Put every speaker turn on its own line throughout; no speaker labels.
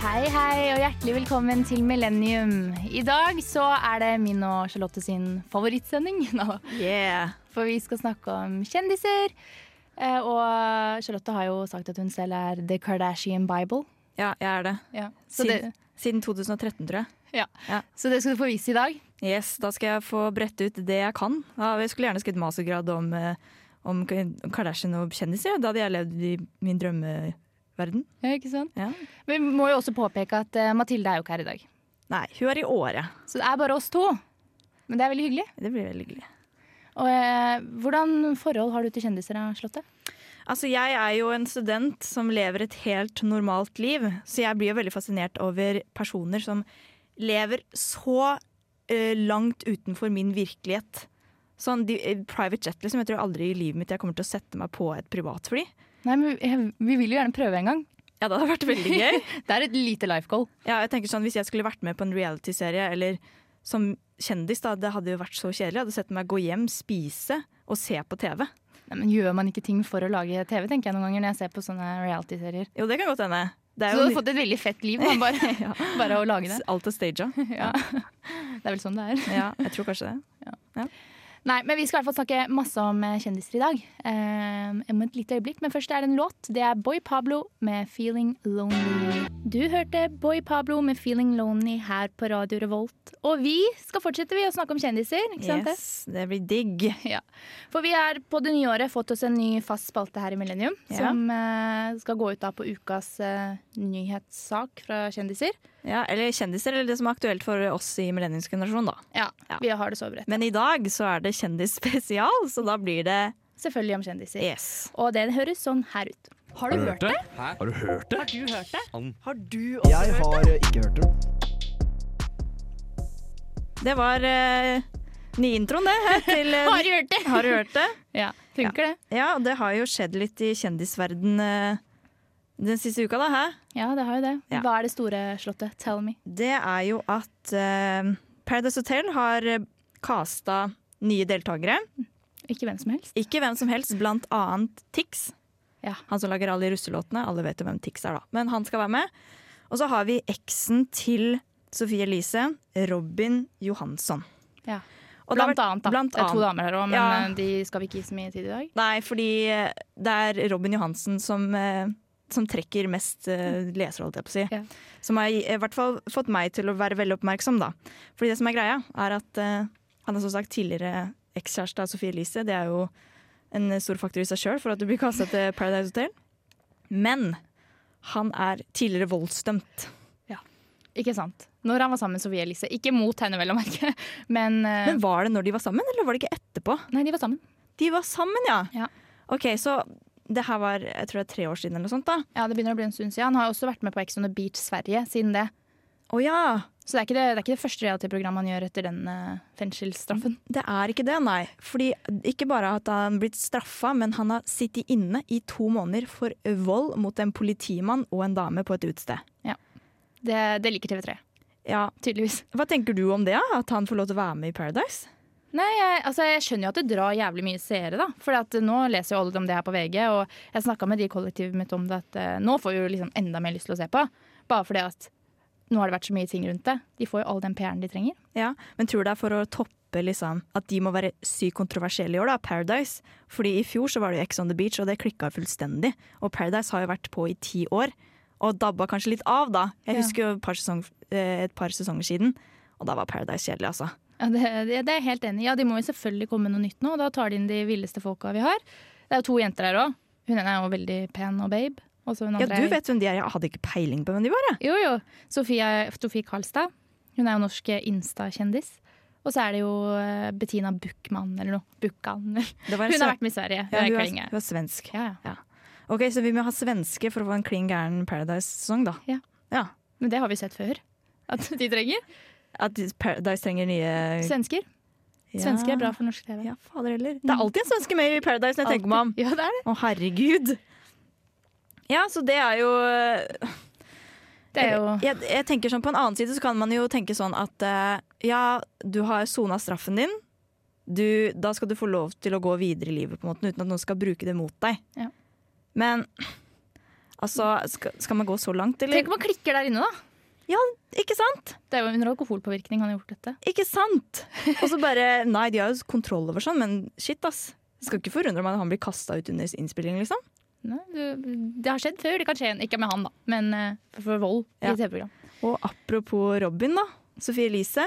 Hei, hei, og hjertelig velkommen til Millennium. I dag så er det min og Charlotte sin favorittsending. Nå,
Yeah.
For vi skal snakke om kjendiser. Eh, Og Charlotte har jo sagt at hun selv er The Kardashian Bible.
Ja, jeg er det.
Så, det,
Siden, siden 2013, tror jeg.
ja.
Ja.
så det skal du få vise i dag.
Yes, Da skal jeg få brette ut det jeg kan. Ja, jeg skulle gjerne skrevet mastergrad om, eh, om K- Kardashian og kjendiser. Da hadde jeg levd i min drømmeverden.
Ja, ikke sant?
Ja.
Vi må jo også påpeke at eh, Mathilde er jo ikke her i dag.
Nei, hun er i året.
Så det er bare oss to. Men det er veldig hyggelig.
Det blir veldig hyggelig.
Og, eh, hvordan forhold har du til kjendiser, da, Charlotte?
Altså, Jeg er jo en student som lever et helt normalt liv, så jeg blir jo veldig fascinert over personer som lever så eh, langt utenfor min virkelighet. Sånn, de, eh, Private jet, liksom. Jeg tror aldri i livet mitt jeg kommer til å sette meg på et privatfly.
Nei, men vi, vi vil jo gjerne prøve en gang.
Ja, det hadde vært veldig gøy.
Det er et lite life goal.
Ja, jeg tenker sånn, Hvis jeg skulle vært med på en reality-serie eller som kjendis, da, det hadde jo vært så kjedelig. Jeg hadde sett meg gå hjem, spise og se på TV.
Nei, men Gjør man ikke ting for å lage TV, tenker jeg noen ganger når jeg ser på sånne reality-serier.
Jo, det kan godt hende.
Så
Det er
du hadde
jo
fått et veldig fett liv, man bare, bare å lage det.
alt er staged.
Ja. Det er vel sånn det er.
Ja, jeg tror kanskje det.
Nei, men vi skal i hvert fall snakke masse om eh, kjendiser i dag. Eh, om et lite øyeblikk, men først er det en låt. Det er Boy Pablo med 'Feeling Lonely'. Du hørte Boy Pablo med 'Feeling Lonely' her på Radio Revolt. Og vi skal fortsette vi å snakke om kjendiser, ikke sant? det?
Yes, det blir digg.
Ja. For vi har på det nye året fått oss en ny fast spalte her i Millennium.
Ja.
Som eh, skal gå ut da på ukas eh, nyhetssak fra kjendiser.
Ja, eller kjendiser, eller det som er aktuelt for oss i millenniumsgenerasjonen, da.
Ja,
Ja.
Vi har det så bredt.
Men i dag så er det kjendisspesial, så da blir det
Selvfølgelig om kjendiser.
yes.
Og det høres sånn her ut. Har du hørt det?
Har du hørt det?
Har du også
Jeg har eh, ikke hørt det.
Det var eh, nyintroen, det, her til eh,
Har du hørt det?
Har du hørt det?
Ja, Funker det?
Ja, og det har jo skjedd litt i kjendisverden eh, den siste uka, da. Hæ?
Ja, det har jo det.
Ja.
Hva er det store slottet? Tell me.
Det er jo at eh, Paradise Hotel har eh, casta nye deltakere.
Ikke hvem som helst.
Ikke hvem som helst, blant annet Tix.
Ja.
Han som lager alle de russelåtene. Alle vet jo hvem Tix er, da. Men han skal være med. Og så har vi eksen til Sophie Elise, Robin Johansson.
Ja.
Og det har
blant
vært-
annet, da.
Blant
Det er to
annet.
damer her òg, men
Ja.
eh, de skal vi ikke gi så mye tid i dag.
Nei, fordi eh, det er Robin Johansen som, eh, som trekker mest eh, lesere, holdt jeg på å si.
Ja.
Som har i i hvert fall fått meg til å være veldig oppmerksom, da. Fordi det som er greia, er at eh, han er som sagt tidligere ekskjæreste av Sophie Elise. Det er jo en stor faktor i seg sjøl for at du blir kasta til Paradise Hotel. Men han er tidligere voldsdømt.
Ikke sant. Når han var sammen med Sofie Elise. Ikke mot henne, vel å merke, men, eh,
Men var det når de var sammen, eller var det ikke etterpå?
Nei, de var sammen.
De var sammen, ja!
Ja.
Ok, så det her var jeg tror det er tre år siden eller noe sånt, da.
Ja, det begynner å bli en stund siden. Han har jo også vært med på Ex on the Beach Sverige siden det.
Å ja!
Så det er ikke det, det, er ikke det første reality-programmet han gjør etter den eh, fengselsstraffen.
Det er ikke det, nei. Fordi ikke bare at han blitt straffa, men han har sittet inne i to måneder for vold mot en politimann og en dame på et utested.
Det, det liker TV3,
Ja,
tydeligvis.
Hva tenker du om det? ja? At han får lov til å være med i Paradise?
Nei, jeg, altså, jeg skjønner jo at det drar jævlig mye seere, da. For eh, nå leser jo alle om det her på VG, og jeg snakka med de i kollektivet mitt om det at eh, nå får vi jo liksom enda mer lyst til å se på. Bare fordi at nå har det vært så mye ting rundt det. De får jo all den PR-en de trenger.
Ja, Men tror du det er for å toppe liksom, at de må være sykt kontroversielle i år, da, Paradise? Fordi i fjor så var det jo Ex on the Beach, og det klikka fullstendig. Og Paradise har jo vært på i ti år, og dabba kanskje litt av da. Jeg
Ja.
husker jo et par, sesong, eh, et par sesonger siden, og da var Paradise kjedelig, altså.
Ja, det, det, det er jeg helt enig i. Ja, de må jo selvfølgelig komme med noe nytt nå, og da tar de inn de villeste folka vi har. Det er jo to jenter her òg. Hun ene er jo veldig pen og babe. Og så hun
Ja,
andre
du
er-
vet hvem de er, jeg hadde ikke peiling på hvem de var. jeg.
Jo, jo. Sofie, Sofie Karlstad. Hun er jo norsk Insta-kjendis. Og så er det jo eh, Bettina Buchmann eller noe. Buchan. Hun
Det var en sve-
har vært med i Sverige. Hun
ja,
er
hun,
klinge.
er, hun er svensk.
Ja, ja.
Ok, Så vi må ha svenske for å få en klin gæren Paradise-sesong, da.
Ja. Men det har vi sett før. At de trenger.
At Paradise trenger nye
Svensker.
ja.
Svensker er bra for norsk TV.
Ja, fader heller. Det er alltid en svenske med i Paradise når jeg tenker meg om.
Ja, det er det.
Å, herregud. Ja, så det er jo eh,
Det er jo
jeg, jeg tenker sånn På en annen side så kan man jo tenke sånn at eh, ja, du har sona straffen din. Du, da skal du få lov til å gå videre i livet på en måte, uten at noen skal bruke det mot deg.
Ja.
Men altså, skal, skal man gå så langt, eller?
Tenk om man klikker der inne, da.
Ikke sant?
Det er jo under alkoholpåvirkning han har gjort dette.
Ikke sant? Og så bare Nei, de har jo kontroll over sånn, men shit, ass. Det skal ikke forundre meg når han blir kasta ut under innspilling, liksom.
Nei, du, det har skjedd før, det kan skje igjen. Ikke med han, da, men eh, for vold
Ja.
i TV-program.
Og apropos Robin, da. Sophie Elise.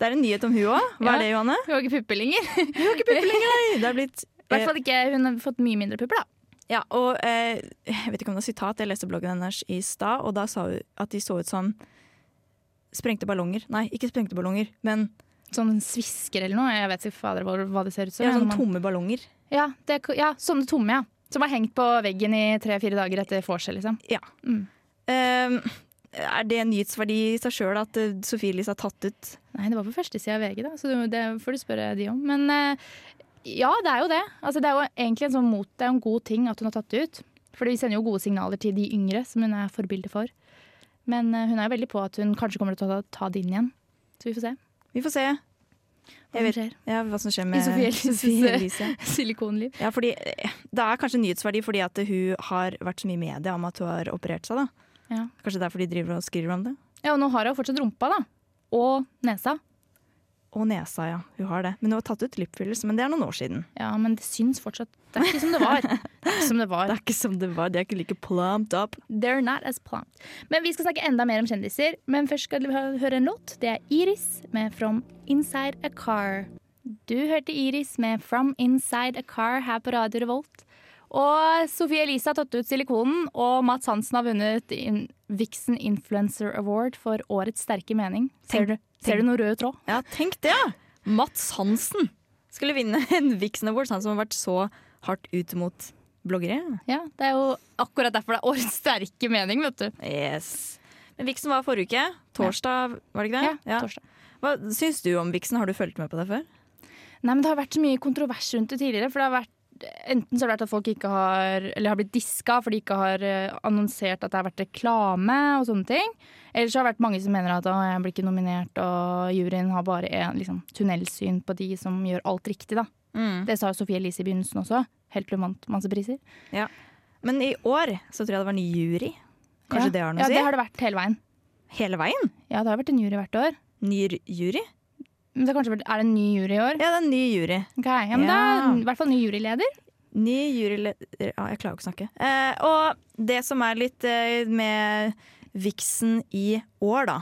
Det er en nyhet om hun òg.
Ja.
Hva er det, Johanne?
Hun har ikke pupper lenger.
Hun har ikke pupper lenger, nei! Det er blitt
I hvert fall ikke, Hun har fått mye mindre pupper, da.
Ja, og eh, jeg vet ikke om det er sitat, jeg leste bloggen hennes i stad, og da sa hun at de så ut som sprengte ballonger. Nei, ikke sprengte ballonger, men
Sånn svisker eller noe. Jeg vet ikke fader hva, hva det ser ut som.
ja,
men
sånn
man-
tomme ballonger.
ja, det, ja, sånne tomme, ja. Som har hengt på veggen i tre-fire dager etter vorset, liksom.
Ja.
Mm.
Eh, er det en nyhetsverdi i seg sjøl at eh, Sophie Elise har tatt ut
Nei, det var på førstesida av VG, da, så det- det får du spørre de om. Men eh, ja, det er jo det. Altså, det er jo egentlig en sånn mot, det er jo en god ting at hun har tatt det ut. For vi sender jo gode signaler til de yngre, som hun er forbilde for. Men eh, hun er jo veldig på at hun kanskje kommer til å ta, ta det inn igjen. Så vi får se
Vi får se
hva som
vet-
skjer.
ja, hva som skjer med
I Sophie Elises-
Sophie Elise.
Silikonliv.
Ja, fordi eh, Det er kanskje en nyhetsverdi fordi at hun har vært så mye i media om at hun har operert seg. da.
Ja.
Kanskje derfor de driver og skriver om det.
Ja, og nå har hun jo fortsatt rumpa, da. Og nesa.
Og nesa, ja. Hun har det. Men hun har tatt ut lipfillers, men det er noen år siden.
Ja, men det syns fortsatt. Det er ikke som det var. Det er ikke som det var.
Det er ikke som det var. De er ikke like plumped up.
They're not as plumped. Men vi skal snakke enda mer om kjendiser. Men først skal vi hø- høre en låt. Det er Iris med From Inside a Car. Du hørte Iris med From Inside a Car her på Radio Revolt. Og Sofie Elise har tatt ut silikonen, og Mats Hansen har vunnet in Vixen Influencer Award for årets sterke mening. Ser
Tenk-
du, ser du noe rød tråd?
Ja, tenk det! ja. Mats Hansen skulle vinne en Vixen Awards, han som har vært så hardt ut mot bloggere.
Ja, Det er jo akkurat derfor det er årets sterke mening, vet du.
Yes. Men Vixen var forrige uke. Torsdag, var det ikke
Ja,
det? Ja.
torsdag.
Hva syns du om Vixen? Har du fulgt med på det før?
Nei, men Det har vært så mye kontrovers rundt det tidligere. for det har vært Enten så har det vært at folk ikke har, eller har blitt diska fordi de ikke har eh, annonsert at det har vært reklame. og sånne ting. Eller så har det vært mange som mener at å, jeg blir ikke nominert, og juryen har bare en, liksom, tunnelsyn på de som gjør alt riktig. da.
Mm.
Det sa jo Sofie Elise i begynnelsen også, helt til hun vant masse priser.
Men i år så tror jeg det var en ny jury. Kanskje
ja.
det har noe
ja,
å si?
det har det vært hele veien.
Hele veien?
Ja, det har vært en jury hvert år.
Ny r- jury?
Men det har kanskje vært, Er det en ny jury i år?
Ja, det er en ny jury.
Ok, ja, men
Ja.
Det er i hvert fall ny juryleder.
Ny juryleder Ja, ah, jeg klarer ikke å snakke. Eh, og det som er litt eh, med Vixen i år, da,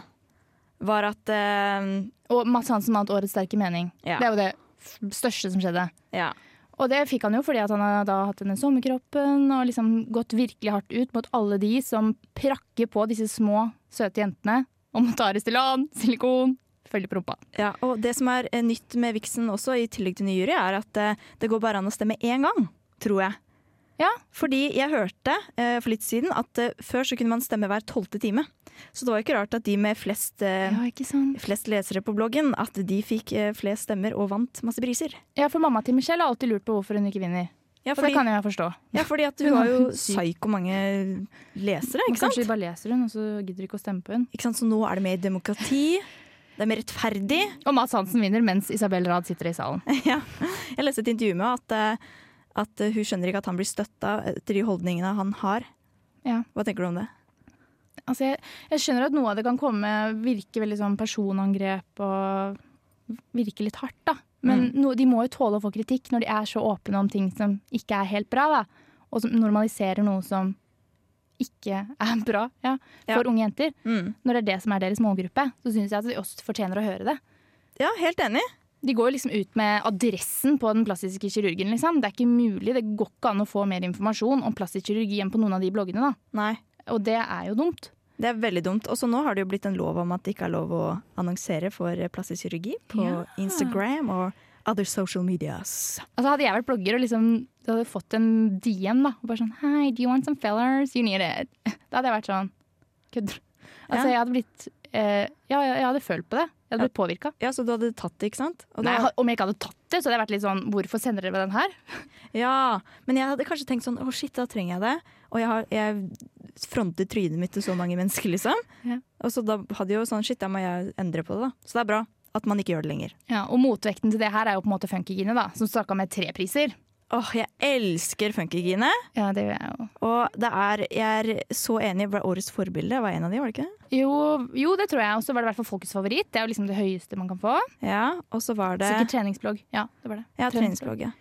var at eh,
Og Mads Hansen vant Årets sterke mening.
Ja.
Det er jo det f- største som skjedde.
ja.
Og det fikk han jo fordi at han har da hatt denne sommerkroppen og liksom gått virkelig hardt ut mot alle de som prakker på disse små, søte jentene om å ta Restylane, silikon, følge på rumpa.
ja. Og det som er eh, nytt med Vixen også, i tillegg til ny jury, er at eh, det går bare an å stemme én gang, tror jeg.
Ja.
Fordi jeg hørte eh, for litt siden at eh, før så kunne man stemme hver tolvte time. Så det var ikke rart at de med flest eh,
Ja, ikke sant?
flest lesere på bloggen at de fikk eh, flest stemmer og vant masse priser.
Ja, for mamma til Michelle har alltid lurt på hvorfor hun ikke vinner. Og
Ja,
det
fordi,
kan jeg forstå.
ja, fordi at hun har jo psyko mange lesere,
Men
ikke sant?
Kanskje de bare leser hun, og så gidder de ikke å stemme på hun.
Ikke sant? Så nå er det mer demokrati, det er mer rettferdig.
Og Mads Hansen vinner mens Isabel Rad sitter i salen.
Ja. Jeg leste et intervju med henne at, eh, at hun skjønner ikke at han blir støtta etter de holdningene han har.
Ja.
Hva tenker du om det?
Altså, jeg, jeg skjønner at noe av det kan komme virke veldig sånn personangrep og virke litt hardt, da. Men no, de må jo tåle å få kritikk når de er så åpne om ting som ikke er helt bra, da. Og som normaliserer noe som ikke er bra ja, for
Ja.
unge jenter.
Mm.
Når det er det som er deres målgruppe, så syns jeg at de også fortjener å høre det.
Ja, helt enig.
De går jo liksom ut med adressen på den plastiske kirurgen, liksom. Det er ikke mulig. Det går ikke an å få mer informasjon om plastisk kirurgi enn på noen av de bloggene, da.
Nei.
Og det er jo dumt.
Det er veldig dumt. Og så nå har det jo blitt en lov om at det ikke er lov å annonsere for eh, plastisk kirurgi på
Ja.
Instagram og other social medias.
Altså Hadde jeg vært blogger og liksom du hadde fått en DM da, og bare sånn Hei, do you want some fillers? You need it. Da hadde jeg vært sånn Kødder du? Altså,
Ja.
jeg hadde blitt eh, Ja, jeg, jeg hadde følt på det. Jeg hadde blitt påvirka.
Ja, så du hadde tatt det, ikke sant? Og
Om
da-
jeg ikke hadde tatt det, så hadde jeg vært litt sånn Hvorfor sender dere meg den her?
Ja, men jeg hadde kanskje tenkt sånn, å shit, da trenger jeg det. Og jeg, har, jeg frontet trynet mitt til så mange mennesker, liksom.
Ja.
Og så da hadde jeg jo sånn, shit, da må jeg endre på det da. Så det er bra at man ikke gjør det lenger.
Ja, Og motvekten til det her er jo på en måte funkygine, da, som stakk av med tre priser.
Åh, jeg elsker funkygine.
Ja, det gjør jeg jo.
Og det er, jeg er så enig. Ble årets forbilde var en av de, var det ikke?
Jo, jo det tror jeg. Og så var det i hvert fall folkets favoritt. Det er jo liksom det høyeste man kan få.
Ja, og så var det
Sikkert treningsblogg. Ja, det var det.
ja, treningsblogg. ja.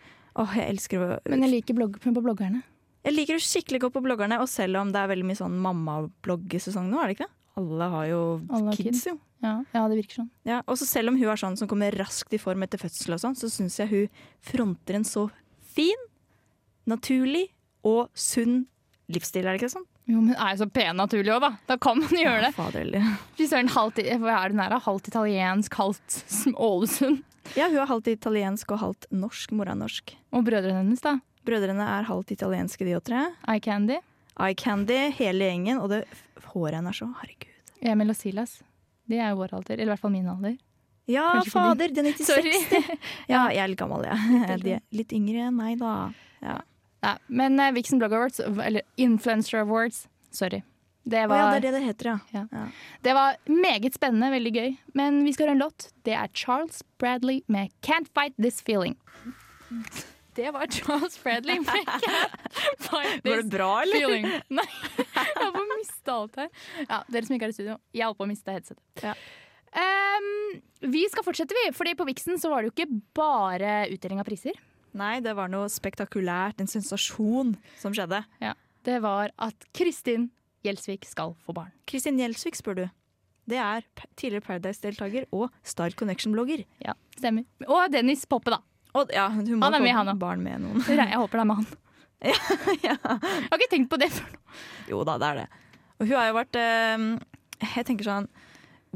Åh, jeg elsker å
Men jeg liker blogg på bloggerne.
Jeg liker å skikkelig gå på bloggerne, og selv om det er veldig mye sånn mammabloggesesong nå, er det ikke det? Alle har jo
Alle har
kids, jo.
Ja, ja, det virker sånn.
Ja, og så selv om hun er sånn som kommer raskt i form etter fødsel og sånn, så syns jeg hun fronter en så fin, naturlig og sunn livsstil, er det ikke sånn?
Jo, men hun er jo så pen naturlig òg, da. Da kan man gjøre det.
Ja, fader, eller.
Fy søren, halvt, hva er det hun er da? Halvt italiensk, halvt sm- Ålesund.
Ja, hun er halvt italiensk og halvt norsk. Mora er norsk.
Og brødrene hennes, da.
Brødrene er halvt italienske, de og tre.
Eye Candy,
Eye Candy, hele gjengen, og det håret hennes så Herregud.
Emil og Silas. De er jo vår alder. Eller i hvert fall min alder.
Ja,
Kanskje ikke
fader, de er 96.
Sorry.
Ja, jeg er litt gammel, jeg. Ja. De er litt yngre, nei da. Ja.
Nei, men eh, Vixen Blog Awards, eller Influencer Awards, sorry. Det
Å ja, det
var,
er det det heter, ja.
Ja. det var meget spennende, veldig gøy. Men vi skal høre en låt. Det er Charles Bradley med 'Can't Fight This Feeling'. Det var Charles Bradley med 'Can't Fight This
bra,
Feeling'. Nei, jeg holdt på å miste alt her. Ja, dere som ikke er i studio, jeg holdt på å miste headsetet.
Ja.
Ehm, vi skal fortsette, vi. Fordi på Vixen så var det jo ikke bare utdeling av priser.
Nei, det var noe spektakulært, en sensasjon som skjedde.
Det var at Kristin Gjelsvik skal få barn.
Kristin Gjelsvik, spør du. Det er p- tidligere Paradise-deltaker og Star Connection-blogger.
Ja, stemmer. Og Dennis Poppe, da.
Og ja, hun må
Han er med, han også.
barn med noen.
Nei, Jeg håper det er med han. Jeg
ja.
har ikke tenkt på det før nå.
Jo da, det er det. Og hun har jo vært eh, Jeg tenker sånn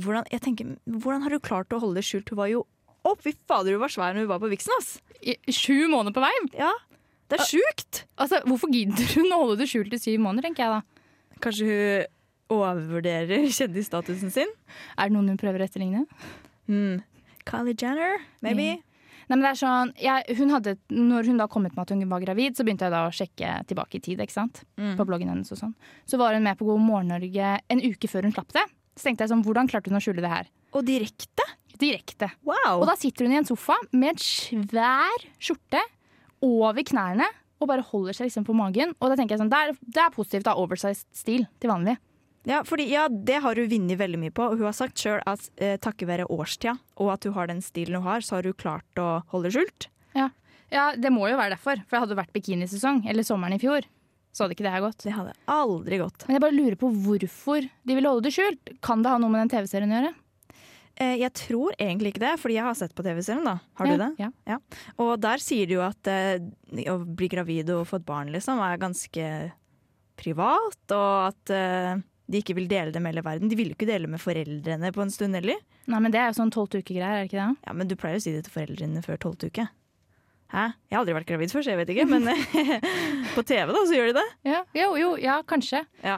hvordan, jeg tenker, hvordan har hun klart å holde det skjult? Hun var jo Å, fy fader, hun var svær når hun var på Vixen, ass!
I Sju måneder på vei?
Ja, Det er sjukt!
Altså, Hvorfor gidder hun å holde det skjult i syv måneder, tenker jeg da.
Kanskje hun overvurderer kjendisstatusen sin?
Er det noen hun prøver å etterligne?
Hmm. Kylie Jenner, maybe?
Nei, men det er sånn, jeg, hun hadde, når hun da kom ut med at hun var gravid, så begynte jeg da å sjekke tilbake i tid. ikke sant?
Mm.
På bloggen hennes og sånn. Så var hun med på God morgen Norge en uke før hun slapp det. Så tenkte jeg sånn, hvordan klarte hun å skjule det her?
Og direkte?
Direkte.
Wow!
Og da sitter hun i en sofa med en svær skjorte over knærne og bare holder seg liksom på magen. Og da tenker jeg sånn, Det er, det er positivt av oversized stil til vanlig.
Ja, fordi, ja, det har hun vunnet veldig mye på. Og hun har sagt sjøl at eh, takket være årstida og at hun har den stilen hun har, så har hun klart å holde det skjult.
Ja, Det må jo være derfor, for det hadde vært bikinisesong eller sommeren i fjor. Så hadde ikke det her gått.
Det hadde aldri gått.
Men jeg bare lurer på hvorfor de ville holde det skjult. Kan det ha noe med den TV-serien å gjøre?
Eh, jeg tror egentlig ikke det, fordi jeg har sett på TV-serien, da. Har
ja,
du det?
Ja.
Og der sier de jo at eh, å bli gravid og få et barn, liksom, er ganske privat, og at eh, de ikke vil dele det med hele verden. De ville jo ikke dele med foreldrene på en stund heller.
Nei, men Det er jo sånn tolvte uke-greier, er det ikke det?
Ja, men du pleier å si det til foreldrene før tolvte uke. Hæ? Jeg har aldri vært gravid før, så jeg vet ikke. Men på TV da, så gjør de det.
Ja, Jo, jo, ja, kanskje.
Ja.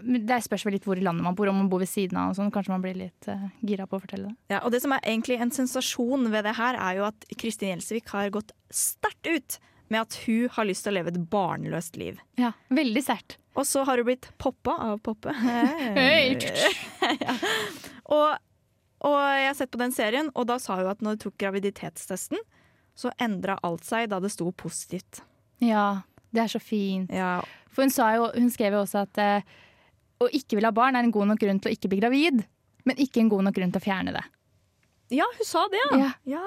men Det spørs vel litt hvor i landet man bor, om man bor ved siden av og sånn. Kanskje man blir litt eh, gira på å fortelle det.
Ja, og det som er egentlig en sensasjon ved det her, er jo at Kristin Gjelsvik har gått sterkt ut med at hun har lyst til å leve et barnløst liv.
Ja, Veldig sært.
Og så har hun blitt poppa av Poppe.
Hey.
Eh. og, og jeg har sett på den serien, og da sa hun at når hun tok graviditetstesten, så endra alt seg da det sto positivt.
Ja, det er så fint.
Ja,
For hun, sa jo, hun skrev jo også at eh, å ikke ville ha barn er en god nok grunn til å ikke bli gravid, men ikke en god nok grunn til å fjerne det.
ja hun sa det,
Ja,
Ja.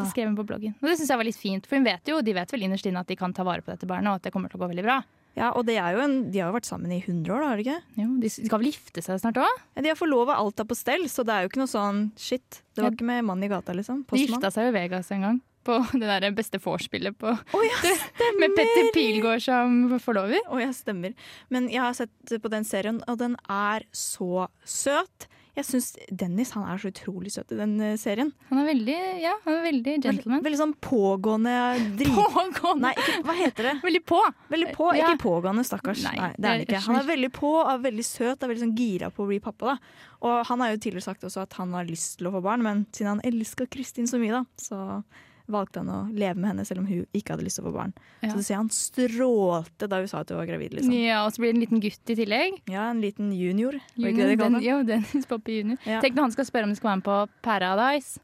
det skrev hun på bloggen. Og det syns jeg var litt fint, for hun vet jo, de vet vel innerst inne at de kan ta vare på dette barnet, og at det kommer til å gå veldig bra.
Ja, og det er jo en, De har jo vært sammen i 100 år, da, har de ikke?
Jo, de skal vel gifte seg snart òg?
Ja, De har forlova, alt er på stell, så det er jo ikke noe sånn shit. Det var
Ja.
ikke med mann i gata, liksom.
De
Postmann.
gifta seg jo i Vegas en gang. På det der beste vorspielet på
Å ja,
Med Petter Pilgaard som forlover.
Å ja, stemmer. Men jeg har sett på den serien, og den er så søt. Jeg syns Dennis han er så utrolig søt i den eh, serien.
Han er veldig ja, han er veldig gentleman.
Veldig sånn pågående drit...
Pågående!
Nei, ikke, hva heter det?
Veldig på!
Veldig på,
Ja.
Ikke pågående, stakkars.
Nei,
Nei, det er han
det er
ikke. Han er veldig på, er veldig søt, er veldig sånn gira på å bli pappa. da. Og Han har jo tidligere sagt også at han har lyst til å få barn, men siden han elska Kristin så mye, da, så valgte han å leve med henne selv om hun ikke hadde lyst til å få barn.
Ja.
Så du ser han strålte da hun sa at hun var gravid. liksom.
Ja, og så blir det en liten gutt i tillegg.
Ja, En liten junior. var ikke
Junior,
det de kalte
den,
han?
jo, Dennis Poppe junior.
Ja.
Tenk når han skal spørre om de skal være med på Paradise.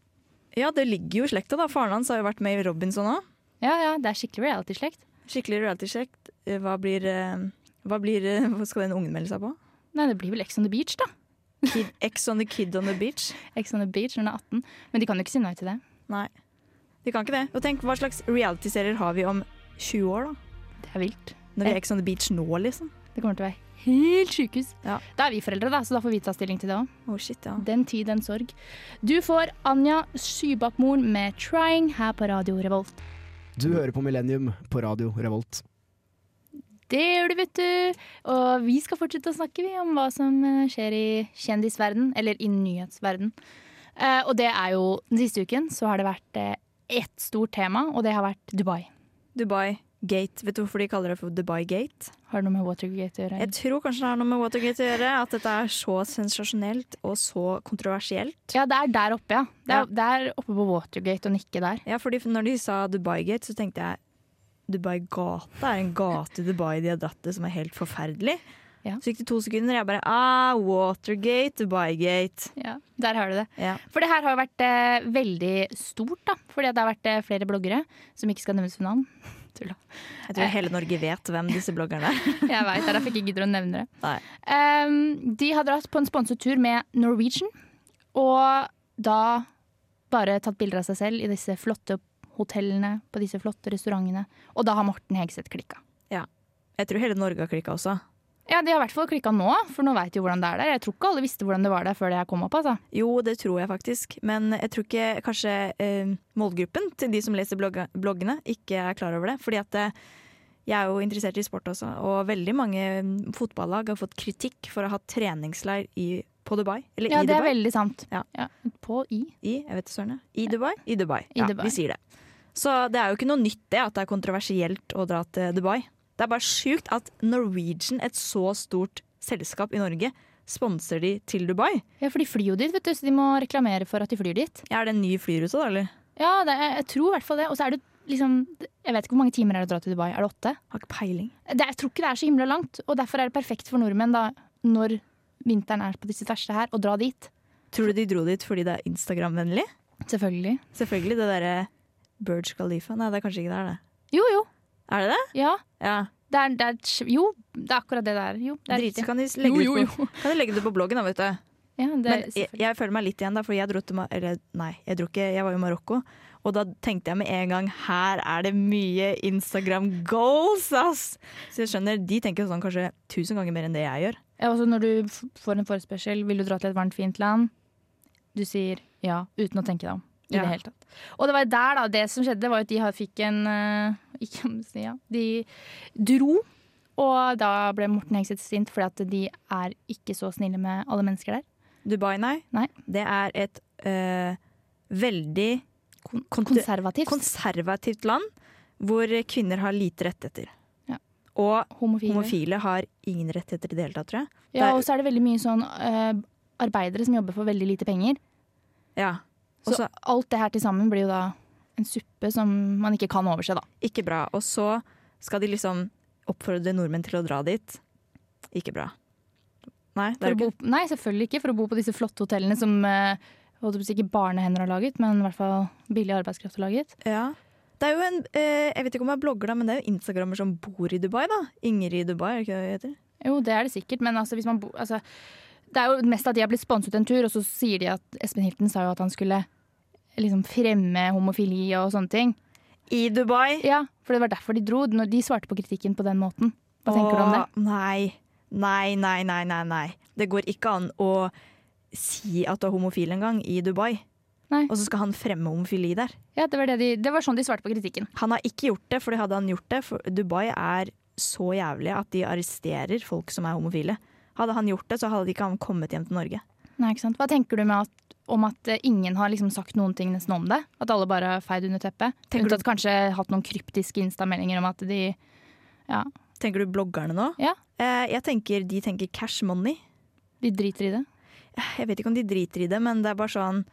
Ja, det ligger jo i slekta. da. Faren hans har jo vært med i Robinson òg.
Ja, ja, det er skikkelig reality-slekt.
Skikkelig reality-sjekk. Eh, Hva blir, eh, hva blir eh, Hva skal den ungen melde seg på?
Nei, det blir vel Ex on the Beach, da.
Kid, Ex on the Kid on the Beach?
Ex on the Beach når hun er 18. Men de kan jo ikke si nei til det.
Nei, de kan ikke det. Og tenk, Hva slags reality-serier har vi om 20 år, da?
Det er vilt.
Når vi er Ex on the Beach nå, liksom?
Det kommer til å være helt sjukehus.
Ja.
Da er vi foreldre, da, så da får vi ta stilling til det òg.
Oh, shit, ja.
Den tid, den sorg. Du får Anja Sybakmoren med 'Trying' her på Radio Revolt.
Du hører på Millennium på radio Revolt.
Det gjør du, vet du. Og vi skal fortsette å snakke vi, om hva som eh, skjer i kjendisverden, eller i nyhetsverden. Eh, og det er jo, den siste uken så har det vært eh, ett stort tema, og det har vært Dubai.
Dubai Gate. Vet du hvorfor de kaller det for Dubai Gate?
Har det noe med Watergate å gjøre?
Jeg tror kanskje det har noe med Watergate å gjøre. At dette er så sensasjonelt og så kontroversielt.
Ja, det er der oppe, ja. Det er,
Ja.
det er oppe på Watergate og nikke der.
Ja, fordi når de sa Dubai Gate, så tenkte jeg Dubai Gate er en gate i Dubai de har dratt til som er helt forferdelig.
Ja.
Så gikk det to sekunder, og jeg bare ah, Watergate, Dubai Gate.
Ja, der har du det.
Ja.
For det her har jo vært eh, veldig stort, da. Fordi at det har vært eh, flere bloggere som ikke skal nevnes ved navn. Tulla.
Jeg tror hele Norge vet hvem disse bloggerne er.
Jeg veit, det er derfor jeg ikke gidder å nevne det.
Nei.
Ehm, de har dratt på en sponset tur med Norwegian, og da bare tatt bilder av seg selv i disse flotte hotellene, på disse flotte restaurantene. Og da har Morten Hegseth klikka.
Jeg tror hele Norge har klikka også.
Ja, de har i hvert fall klikka nå, for nå veit de jo hvordan det er der. Jeg tror ikke alle visste hvordan det var der før det her kom opp, altså.
Jo, det tror jeg faktisk. Men jeg tror ikke kanskje eh, målgruppen til de som leser blogga- bloggene, ikke er klar over det. Fordi at eh, jeg er jo interessert i sport også, og veldig mange mm, fotballag har fått kritikk for å ha treningsleir i, på Dubai. Eller
Ja,
i
det er
Dubai.
veldig sant.
Ja.
På i.
I, jeg vet søren, jeg. I Dubai? I Dubai.
I
ja,
Dubai.
vi sier det. Så det er jo ikke noe nytt det, at det er kontroversielt å dra til Dubai. Det er bare sjukt at Norwegian, et så stort selskap i Norge, sponser de til Dubai.
Ja, for de flyr jo dit, vet du, så de må reklamere for at de flyr dit.
Ja, er det en ny flyrute, da, eller?
Ja, det, jeg tror i hvert fall det. Og så er det liksom Jeg vet ikke hvor mange timer er det å dra til Dubai. Er det åtte?
Har ikke peiling.
det, jeg tror ikke det er så himla langt, og derfor er det perfekt for nordmenn da, når vinteren er på disse verste her, å dra dit.
Tror du de dro dit fordi det er Instagram-vennlig?
Selvfølgelig.
Selvfølgelig det derre Burj Khalifa. Nei, det er kanskje ikke det er det.
Jo, jo.
Er det det?
Ja.
Ja.
Det er, det er, et sj- jo, det er akkurat det det er. Jo, det er
Drit, så
riktig.
kan de legge,
Jo,
det
jo,
ut på, kan de legge det på bloggen, da, vet du.
Ja, det,
Men jeg, jeg føler meg litt igjen, da, for jeg dro til Ma- Eller nei, jeg dro ikke, jeg var jo i Marokko. Og da tenkte jeg med en gang her er det mye Instagram goals, ass! Så jeg skjønner, de tenker sånn kanskje tusen ganger mer enn det jeg gjør.
ja, også når du f- får en forespørsel, vil du dra til et varmt, fint land? Du sier ja, uten å tenke deg om. I
Ja.
det hele tatt. Og det var der, da. Det som skjedde, var jo at de har- fikk en eh, Ikke om å si ja. De dro, og da ble Morten Hegseth sint fordi at de er ikke så snille med alle mennesker der.
Dubai, nei.
Nei.
Det er et øh, veldig
Kon
konte-
konservativt.
konservativt land hvor kvinner har lite rettigheter.
Ja.
Og
homofile.
homofile har ingen rettigheter i det hele tatt, tror jeg.
Ja,
Det er-
og så er det veldig mye sånn eh, arbeidere som jobber for veldig lite penger.
Ja.
Så
Også-
alt det her til sammen blir jo da en suppe som man ikke kan overse, da.
Ikke bra. Og så skal de liksom oppfordre nordmenn til å dra dit. Ikke bra. Nei, det
For
er
å
jo
bo, nei, selvfølgelig ikke for å bo på disse flotte hotellene som eh, holdt jeg på å si, ikke barnehender har laget, men i hvert fall billig arbeidskraft har laget.
ikke ja. Det er jo en, eh, Jeg vet ikke om jeg blogger, da, men det er jo instagrammer som bor i Dubai. da. Ingrid i Dubai, er det ikke det det heter?
Jo, det er det sikkert, men altså, hvis man bo, altså, det er jo mest at de har blitt sponset en tur, og så sier de at Espen Hilton sa jo at han skulle liksom fremme homofili og sånne ting.
I Dubai!
Ja, for det var derfor de dro. Når de svarte på kritikken på den måten. Hva tenker du om det?
Åh, Nei. Nei, nei, nei, nei. nei. Det går ikke an å si at du er homofil engang i Dubai.
Nei.
Og så skal han fremme homofili der.
Ja, det var, det, de, det var sånn de svarte på kritikken.
Han har ikke gjort det, for hadde han gjort det for Dubai er så jævlig at de arresterer folk som er homofile. Hadde han gjort det, så hadde ikke han kommet hjem til Norge.
Nei, ikke sant? Hva tenker du med at, om at eh, ingen har liksom sagt noen ting nesten om det? At alle bare har feid under teppet?
Tenker du-
Unntatt kanskje hatt noen kryptiske instameldinger om at de ja,
Tenker du bloggerne nå?
Ja.
Eh, jeg tenker De tenker cash money.
de driter i det.
Eh, Jeg vet ikke om de driter i det, men det er bare sånn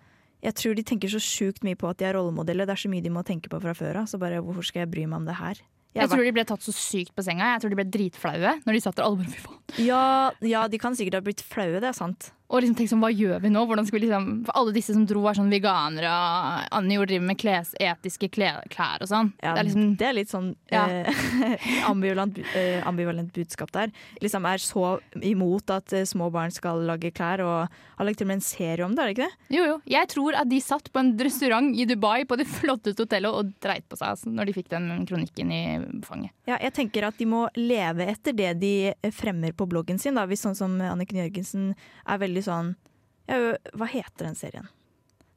Jeg tror de tenker så sjukt mye på at de er rollemodeller. Det er så mye de må tenke på fra før av. Så bare hvorfor skal jeg bry meg om det her? Jeg
Jeg
var-
tror de ble tatt så sykt på senga. Jeg tror de ble dritflaue når de satt der alle bare fy faen.
ja, ja, de kan sikkert ha blitt flaue, det er sant.
Og liksom tenk sånn, hva gjør vi nå? Hvordan skal vi liksom, for alle disse som dro er sånn veganere, og Anne jo driver med kles, etiske kle, klær og sånn.
Ja,
det er liksom,
litt sånn
Ja.
eh, ambivalent, bu- eh, ambivalent budskap der. Liksom er så imot at eh, små barn skal lage klær, og har lagt til og med en serie om det, er det ikke det?
jo, jo. Jeg tror at de satt på en restaurant i Dubai på det flotteste hotellet og dreit på seg altså, når de fikk den kronikken i fanget.
Ja, jeg tenker at de må leve etter det de eh, fremmer på bloggen sin, da. Hvis sånn som Anniken Jørgensen er veldig sånn ja, ø, Hva heter den serien?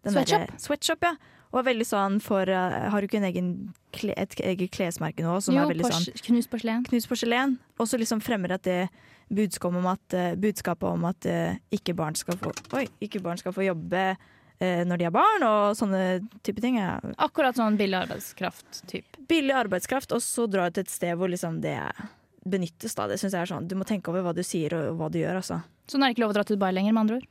Den
Sweatshop?
derre- Sweatshop, ja. Og er veldig sånn for eh, Har du ikke en egen kle, et eget klesmerke nå som
jo,
er veldig sånn
pors- knust porselen.
knust porselen. Og så liksom fremmer at det budskapet om at, eh, budskapet om at eh, ikke, barn skal få, oi, ikke barn skal få jobbe eh, når de er barn, og sånne type ting. Ja.
Akkurat sånn billig arbeidskraft-type.
Billig arbeidskraft, og så dra ut et sted hvor liksom det benyttes. Da. Det synes jeg er sånn, Du må tenke over hva du sier og hva du gjør, altså.
Så nå er det ikke lov å dra til Dubai lenger, med andre ord.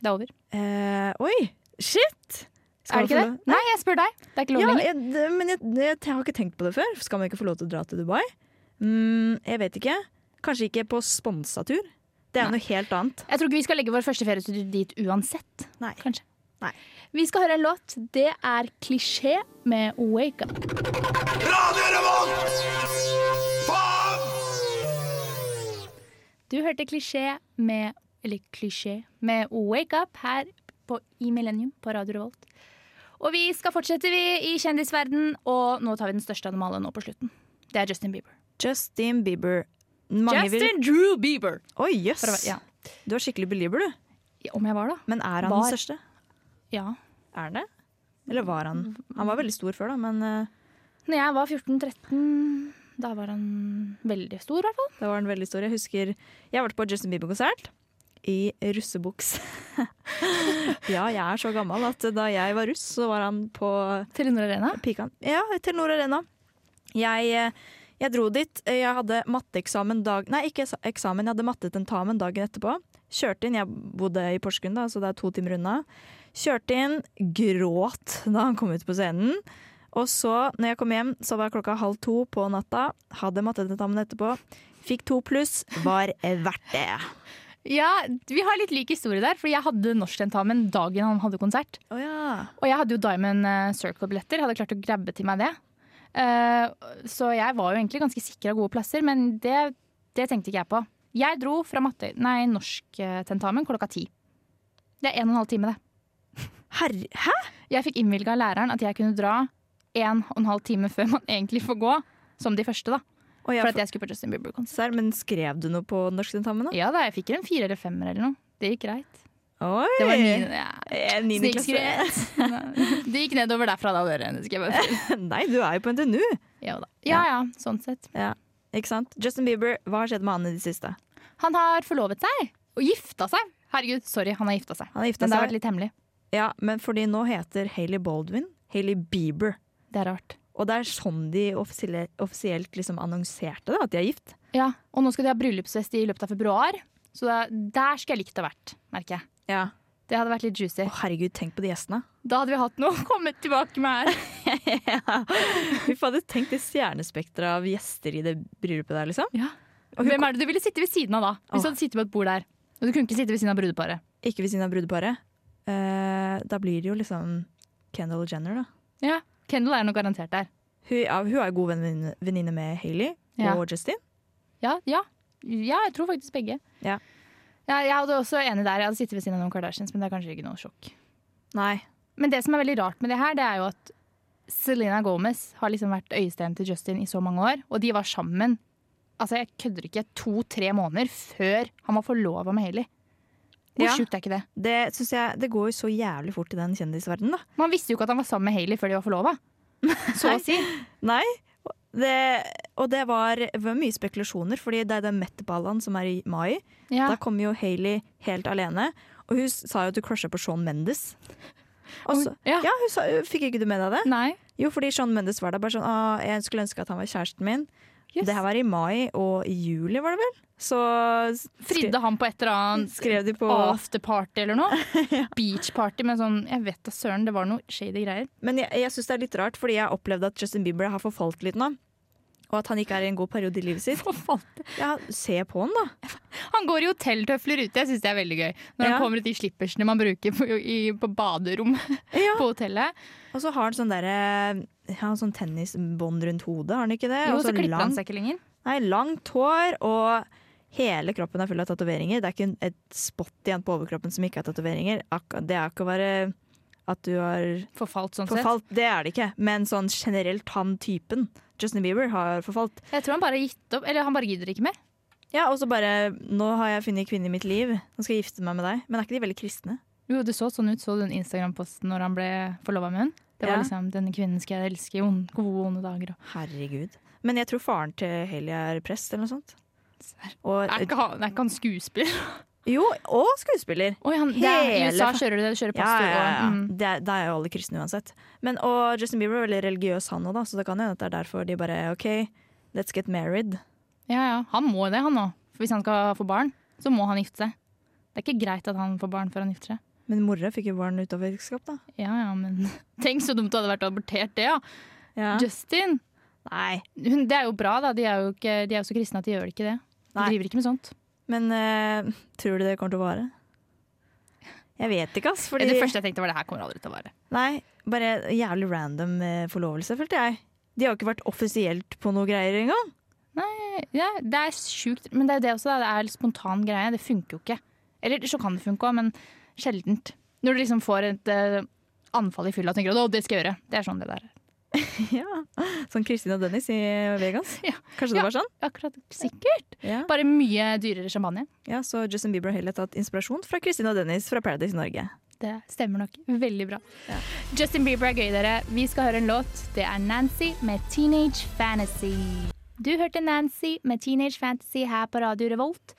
Det er over.
Eh, oi, shit!
er det
man få
ikke
lov-
det? Nei, jeg spør deg. Det er ikke lov
Ja,
lenger.
jeg, det- men jeg, jeg, jeg har ikke tenkt på det før. Skal man ikke få lov til å dra til Dubai? Mm, jeg vet ikke. Kanskje ikke på sponsa tur. Det er noe helt annet.
Jeg tror ikke vi skal legge vår første feriestudio dit uansett.
Nei.
Kanskje.
Nei.
Vi skal høre en låt. Det er 'Klisjé' med 'Wake Up'.
Radio Revolt! Faen!
Du hørte 'Klisjé' med Eller 'Klisjé' med 'Wake Up' her på, i Millennium på Radio Revolt. Og vi skal fortsette vi i kjendisverden, og nå tar vi den største anomale nå på slutten. Det er Justin Bieber.
Justin Bieber. Mange Vil...
Drew Bieber!
Oi, jøss!
For å være- ja.
Du er skikkelig belieber, du.
Om jeg var, da?
Men er han
Var.
den største?
Ja.
Er han det? Eller var han? Han var veldig stor før, da, men eh,
Når jeg var 14-13, da var han veldig stor, i hvert fall.
da var han veldig stor. Jeg husker jeg var på Justin Bieber-konsert i russebuks. ja, jeg er så gammel at da jeg var russ, så var han på
Telenor Arena.
Pikan. Ja, Telenor Arena. Jeg, eh, jeg dro dit. Eh, Jeg hadde matteeksamen dag... Nei, ikke eksa- eksamen. Jeg hadde mattetentamen dagen etterpå. Kjørte inn. Jeg bodde i Porsgrunn, da, så det er to timer unna. Kjørte inn, gråt da han kom ut på scenen. Og så, når jeg kom hjem, så var klokka halv to på natta. Hadde mattetentamen etterpå. Fikk to pluss. Var verdt det.
Ja, Vi har litt lik historie der, fordi jeg hadde norsktentamen dagen han hadde konsert.
Å ja.
Og jeg hadde jo Diamond eh, Circle-billetter, hadde klart å grabbe til meg det. Eh, Så jeg var jo egentlig ganske sikra gode plasser, men det, det tenkte ikke jeg på. Jeg dro fra matte, nei, norsktentamen klokka ti. Det er en og en halv time, det.
Herre... Hæ?
Jeg fikk innvilga av læreren at jeg kunne dra en og en halv time før man egentlig får gå. Som de første, da.
Og jeg
For at
får
jeg skulle på Justin Bieber-konsert.
Serr, Men skrev du noe på norsktentamen, da?
Ja da, jeg fikk en fire eller femmer eller noe. Det gikk greit.
Oi!
Det var niende. Ja.
Eh, niende klasse.
Snikskritt. Det gikk nedover derfra da, dere. Det skal jeg bare si.
Nei, du er jo på NTNU.
Ja da. Ja ja, sånn sett.
Ikke sant? Justin Bieber, hva har skjedd med han i det siste?
Han har forlovet seg og gifta seg. Herregud, sorry, han har gifta seg.
Han har gifta
Men det har
seg.
vært litt hemmelig.
Ja, men fordi nå heter Hailey Baldwin Hailey Bieber.
Det er rart.
Og det er sånn de offisielle- offisielt liksom annonserte det, at de er gift.
Ja, Og nå skal de ha bryllupsfest i løpet av februar, så da, der skulle jeg likt å ha vært, merker jeg.
Ja.
Det hadde vært litt juicy.
Å, herregud, tenk på de gjestene.
Da hadde vi hatt noe å komme tilbake med her.
Vi hadde tenkt det stjernespekteret av gjester i det bryllupet der, liksom.
Ja.
Og hun
Hvem er det du ville sitte ved siden av da? Hvis
Åh.
du hadde sittet på et bord der. Og du kunne ikke sitte ved siden av brudeparet.
Ikke ved siden av brudeparet. Eh, da blir det jo liksom Kendall Jenner, da.
Ja, Kendall er nok garantert der.
Hun, ja, hun er jo god venninne- venninne med Hailey
Ja.
og Justin.
Ja, ja. ja jeg tror faktisk begge.
Ja.
Ja, jeg hadde også enig der. Jeg hadde sittet ved siden av noen Kardashians, men det er kanskje ikke noe sjokk.
Nei.
Men det som er veldig rart med det her, det er jo at Selena Gomez har liksom vært øyesteinen til Justin i så mange år, og de var sammen altså jeg kødder ikke, to-tre måneder før han var forlova med Hailey. Hvor
Ja.
sjukt er ikke det?
Det, synes jeg, det går jo så jævlig fort i den kjendisverdenen, da.
Man visste jo ikke at han var sammen med Hailey før de var forlova. Så å si.
Nei. Det, og det var, det var mye spekulasjoner, fordi det er den Met-ballaen som er i mai.
Ja.
Da kommer jo Hailey helt alene, og hun s- sa jo at hun crusha på Sean Mendes. Og så,
Ja.
ja, hun sa, Fikk ikke du med deg det?
Nei.
Jo, fordi Sean Mendes var der bare sånn «Å, Jeg skulle ønske at han var kjæresten min.
Yes.
Det her var i mai, og i juli var det vel? Så s- skre,
Fridde han på et eller annet
skrev de på
afterparty eller noe? Beachparty med sånn Jeg vet da søren, det var noe shady greier.
Men jeg, jeg syns det er litt rart, fordi jeg har opplevd at Justin Bieber har forfalt litt nå. og at han ikke er i en god periode i livet sitt.
Hva faen?
Ja, se på han, da.
Han går i hotelltøfler ute, jeg syns det er veldig gøy. Når
Ja.
han kommer ut de slippersene man bruker på, i, på baderom
Ja.
på hotellet.
Og så har han sånn derre ja, sånn tennisbånd rundt hodet, har han ikke det?
Jo,
Og
så klipper han
langt-
seg ikke lenger.
Nei, langt hår og hele kroppen er full av tatoveringer. Det er ikke en- et spot igjen på overkroppen som ikke er tatoveringer. Ak- Det er ikke bare at du har
Forfalt sånn
forfalt, det er det ikke. Men sånn generelt han typen, Justin Bieber, har forfalt.
sett. Jeg tror han bare har gitt opp, eller han bare gidder ikke mer.
Ja, og så bare Nå har jeg funnet kvinne i mitt liv, nå skal jeg gifte meg med deg. Men er ikke de veldig kristne?
Jo, det så sånn ut. Så du den Instagram-posten når han ble forlova med hun? Det var
Ja.
liksom 'denne kvinnen skal jeg elske i ond- gode og onde dager'. og-
Herregud. Men jeg tror faren til Haley er prest eller noe sånt.
Serr.
Og,
Er ikke han, er ikke han skuespiller?
jo, og skuespiller.
Oi, han, det er, I
Hele
USA
fa-
kjører du det, du kjører
Ja,
pastor
ja, ja.
og mm.
Det er- Da er jo alle kristne uansett. Men, og Justin Bieber er veldig religiøs han òg, så det kan hende at det er derfor de bare OK, let's get married.
ja, ja. Han må det, han òg. For hvis han skal få barn, så må han gifte seg. Det er ikke greit at han får barn før han gifter seg.
Men mora fikk jo barn ut av ekteskap, da.
Ja, ja, men Tenk så dumt det hadde vært å abortert det, ja.
Ja.
Justin!
Nei.
Hun, det er jo bra, da. De er jo, ikke, de er jo så kristne at de gjør ikke det. De
Nei.
driver ikke med sånt.
Men eh, tror du det kommer til å vare? Jeg vet ikke, ass. Fordi
Det første jeg tenkte var det her kommer aldri til å være.
Nei, bare jævlig random eh, forlovelse, følte jeg. De har jo ikke vært offisielt på noe greier engang.
Ja, det er sjukt, men det er jo det også, da. Det er en spontan greie. Det funker jo ikke. Eller så kan det funke òg, men sjeldent. Når du liksom får et eh, anfall i fylla og tenker at å, det skal jeg gjøre. Det er sånn det der er.
ja. Sånn Kristin og Dennis i Vegas.
Ja.
Kanskje det
Ja.
var sånn?
Akkurat sikkert.
Ja.
Bare mye dyrere champagne.
ja, Så Justin Bieber har heller tatt inspirasjon fra Kristin og Dennis fra Paradise Norge.
Det stemmer nok veldig bra. Justin Bieber er gøy, dere. Vi skal høre en låt. Det er Nancy med 'Teenage Fantasy'. Du hørte Nancy med 'Teenage Fantasy' her på Radio Revolt.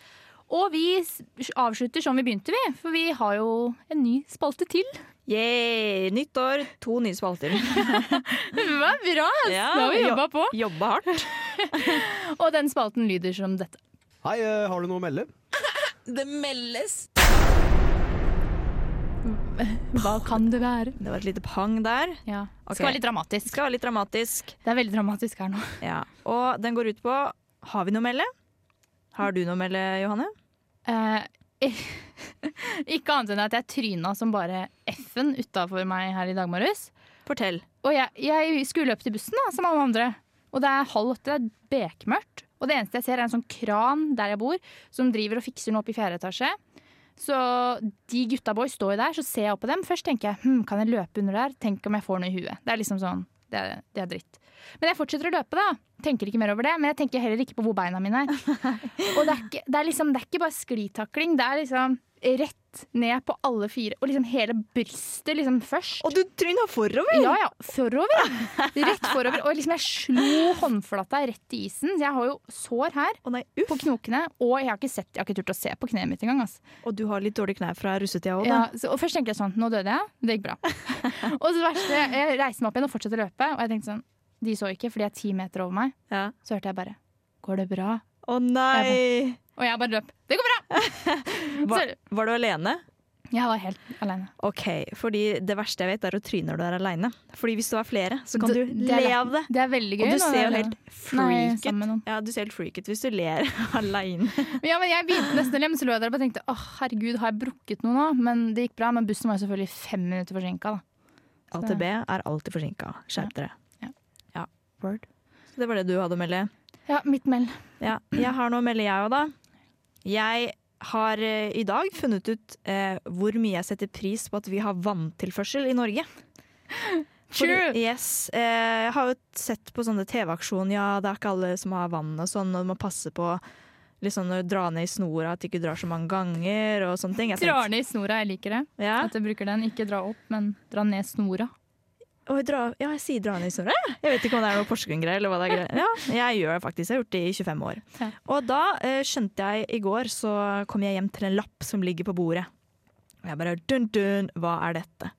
Og vi s- avslutter som vi begynte, vi. For vi har jo en ny spalte til.
Yeah! Nytt år, to nye spalter.
Det var bra! ass.
Ja,
Nå har vi
jo-
jobba på.
Jobba hardt.
Og den spalten lyder som dette.
Hei, eh, har du noe å melde?
Det meldes.
Hva kan det være?
Det var et lite pang der.
Ja. Det
Ok.
skal være litt
Det
dramatisk.
skal være litt dramatisk.
Det er veldig dramatisk her nå.
Ja. Og den går ut på Har vi noe å melde? Har du noe å melde, Johanne?
Eh, ikke annet enn at jeg tryna som bare F-en utafor meg her i dag morges.
Fortell.
Og jeg, jeg skulle opp til bussen, da, som alle andre. Og det er halv åtte, det er bekmørkt. Og det eneste jeg ser, er en sånn kran der jeg bor, som driver og fikser noe opp i fjerde etasje. Så de gutta boys står jo der, så ser jeg opp på dem. Først tenker jeg hm, kan jeg løpe under der? Tenk om jeg får noe i huet. Det er liksom sånn, det er, det er dritt. Men jeg fortsetter å løpe, da. Tenker ikke mer over det. Men jeg tenker heller ikke på hvor beina mine er. Og det er ikke, det er liksom, det er ikke bare sklitakling. Det er liksom rett ned på alle fire. Og liksom hele brystet liksom først.
Og du tryna forover!
Ja, ja. Forover, ja. Rett forover. Og liksom jeg slo håndflata rett i isen. Så jeg har jo sår her
Å nei, uff.
på knokene. Og jeg har ikke sett, jeg har ikke turt å se på kneet mitt engang. ass.
Og du har litt dårlig knær fra russetida òg, da.
Ja, så, og først tenkte jeg sånn, nå døde jeg. Det gikk bra. og så det verste, jeg reiste meg opp igjen og fortsatte å løpe. Og jeg tenkte sånn, de så ikke, for de er ti meter over meg.
Ja.
Så hørte jeg bare, går det bra?
Å nei!
Og jeg bare løp. Det går bra!
Var, var du alene?
Jeg var helt alene.
Ok, fordi det verste jeg vet er å tryne når du er alene. Fordi hvis du er flere, så kan
Det-
du
det er
le
lett.
av det.
Det er veldig gøy.
Og du
når
ser
jeg er
jo
alene.
helt
Nei, sånn.
freak
sammen med
ut.
noen.
Ja, du ser helt freak ut hvis du ler alene.
Ja, men Jeg begynte nesten å le, men så lå jeg der og bare tenkte åh, herregud, har jeg brukket noe nå? Men det gikk bra. Men bussen var jo selvfølgelig fem minutter forsinka.
AtB er alltid forsinka. Skjerp dere.
Ja.
Ja. Så det var det du hadde å melde.
Ja, mitt meld.
Ja, jeg har noe å melde, jeg òg, da. Jeg har eh, i dag funnet ut eh, hvor mye jeg setter pris på at vi har vanntilførsel i Norge. Fordi-
True.
yes, eh, jeg har jo sett på sånne TV-aksjoner, ja, det er ikke alle som har vann og sånn, og man passer på litt sånn å dra ned i snora, at du ikke drar så mange ganger og sånne ting. Jeg
Drar
tenkte-
ned i snora, jeg liker det.
Ja.
At jeg bruker den. Ikke dra opp, men dra ned snora.
Å, dra, ja, jeg sier dra ned i snora, jeg. Jeg vet ikke om det er noe Porsgrunn-greier eller hva det er. greier. Ja, jeg gjør det faktisk, jeg har gjort det i 25 år.
Ja.
Og da eh, skjønte jeg i går, så kom jeg hjem til en lapp som ligger på bordet. Og jeg bare dun dun, hva er dette?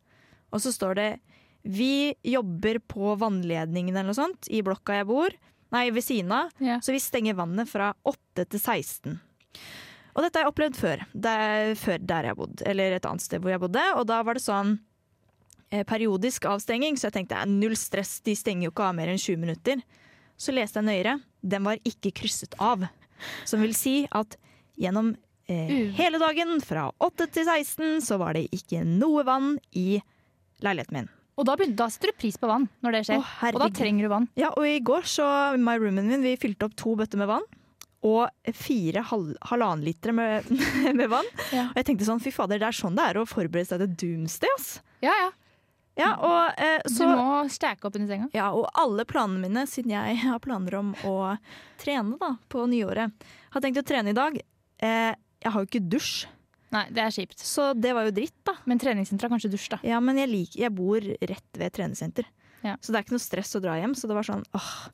Og så står det vi jobber på vannledningen eller noe sånt i blokka jeg bor. Nei, ved siden av.
Ja.
Så vi stenger vannet fra 8 til 16. Og dette har jeg opplevd før. Det er før der jeg bodde, eller et annet sted hvor jeg bodde. Og da var det sånn eh, periodisk avstenging, så jeg tenkte "Eh, null stress, de stenger jo ikke av mer enn 20 minutter. så leste jeg nøyere. Den var ikke krysset av. Som vil si at gjennom eh,
Uh.
hele dagen fra 8 til 16 så var det ikke noe vann i leiligheten min.
Og da, begynner, da setter du pris på vann når det skjer.
Å,
og da
herregud.
trenger du vann.
Ja, og i går så My roomien min, vi fylte opp to bøtter med vann. Og fire hal halvannen liter med, med vann.
Ja.
Og jeg tenkte sånn, fy fader, det er sånn det er å forberede seg til doomsday, ass.
Ja, ja.
Ja, og, eh,
Mm. Du
så,
må stæke opp under senga.
ja, og alle planene mine, siden jeg har planer om å trene da, på nyåret, har tenkt å trene i dag. Eh, jeg har jo ikke dusj,
Nei, det er kjipt.
så det var jo dritt, da.
Men treningssenteret har kanskje dusj, da.
Ja, men jeg, liker, jeg bor rett ved treningssenter.
Ja.
Så det er ikke noe stress å dra hjem. Så det var sånn, åh,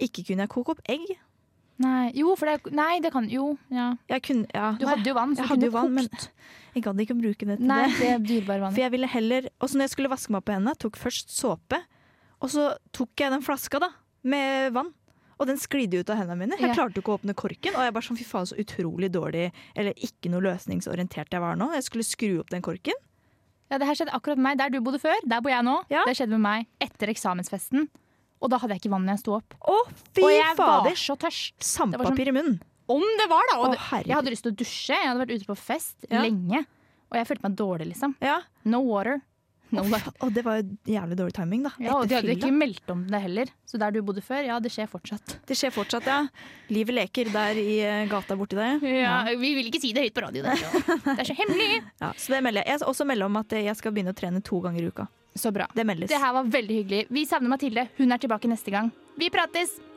ikke kunne jeg koke opp egg.
Nei, jo, for det, er- nei, det kan Jo, ja.
Jeg kunne, ja,
Du
nei.
hadde jo vann, så
Jeg
du kunne
hadde jo vann, men
kokt.
jeg gadd ikke å bruke det til
Nei,
det.
det er dyrebare
For
vannet.
jeg ville heller, og så når jeg skulle vaske meg på hendene, tok først såpe, og så tok jeg den flaska da, med vann. Og den sklidde ut av hendene mine. Jeg
Ja.
klarte jo ikke å åpne korken. Og jeg bare sånn, fy faen, så utrolig dårlig, eller ikke noe løsningsorientert jeg var nå. Jeg skulle skru opp den korken.
Ja, det her skjedde akkurat med meg. Der du bodde før, der bor jeg nå.
Ja.
Det skjedde med meg etter eksamensfesten. Og da hadde jeg ikke vann når jeg sto opp.
Å, fy
og jeg var
fader!
så tørst.
Sandpapir i munnen.
Om det var, da!
Å,
Og det, jeg
herregud.
hadde lyst til å dusje, jeg hadde vært ute på fest
Ja.
lenge. Og jeg følte meg dårlig, liksom.
Ja.
No water. No
Å,
life.
fy- Og det var jo jævlig dårlig timing, da.
Ja, og de
Etter
hadde ikke
fylla.
meldt om det heller. Så der du bodde før, ja, det skjer fortsatt.
Det skjer fortsatt, ja. Livet leker der i eh, gata borti der.
Vi vil ikke si det høyt på radio. Det, er så hemmelig!
Ja, så det melder jeg. Jeg skal også melde om at jeg skal begynne å trene to ganger i uka.
Så bra.
Det meldes.
Det her var veldig hyggelig. Vi savner Mathilde. Hun er tilbake neste gang. Vi prates!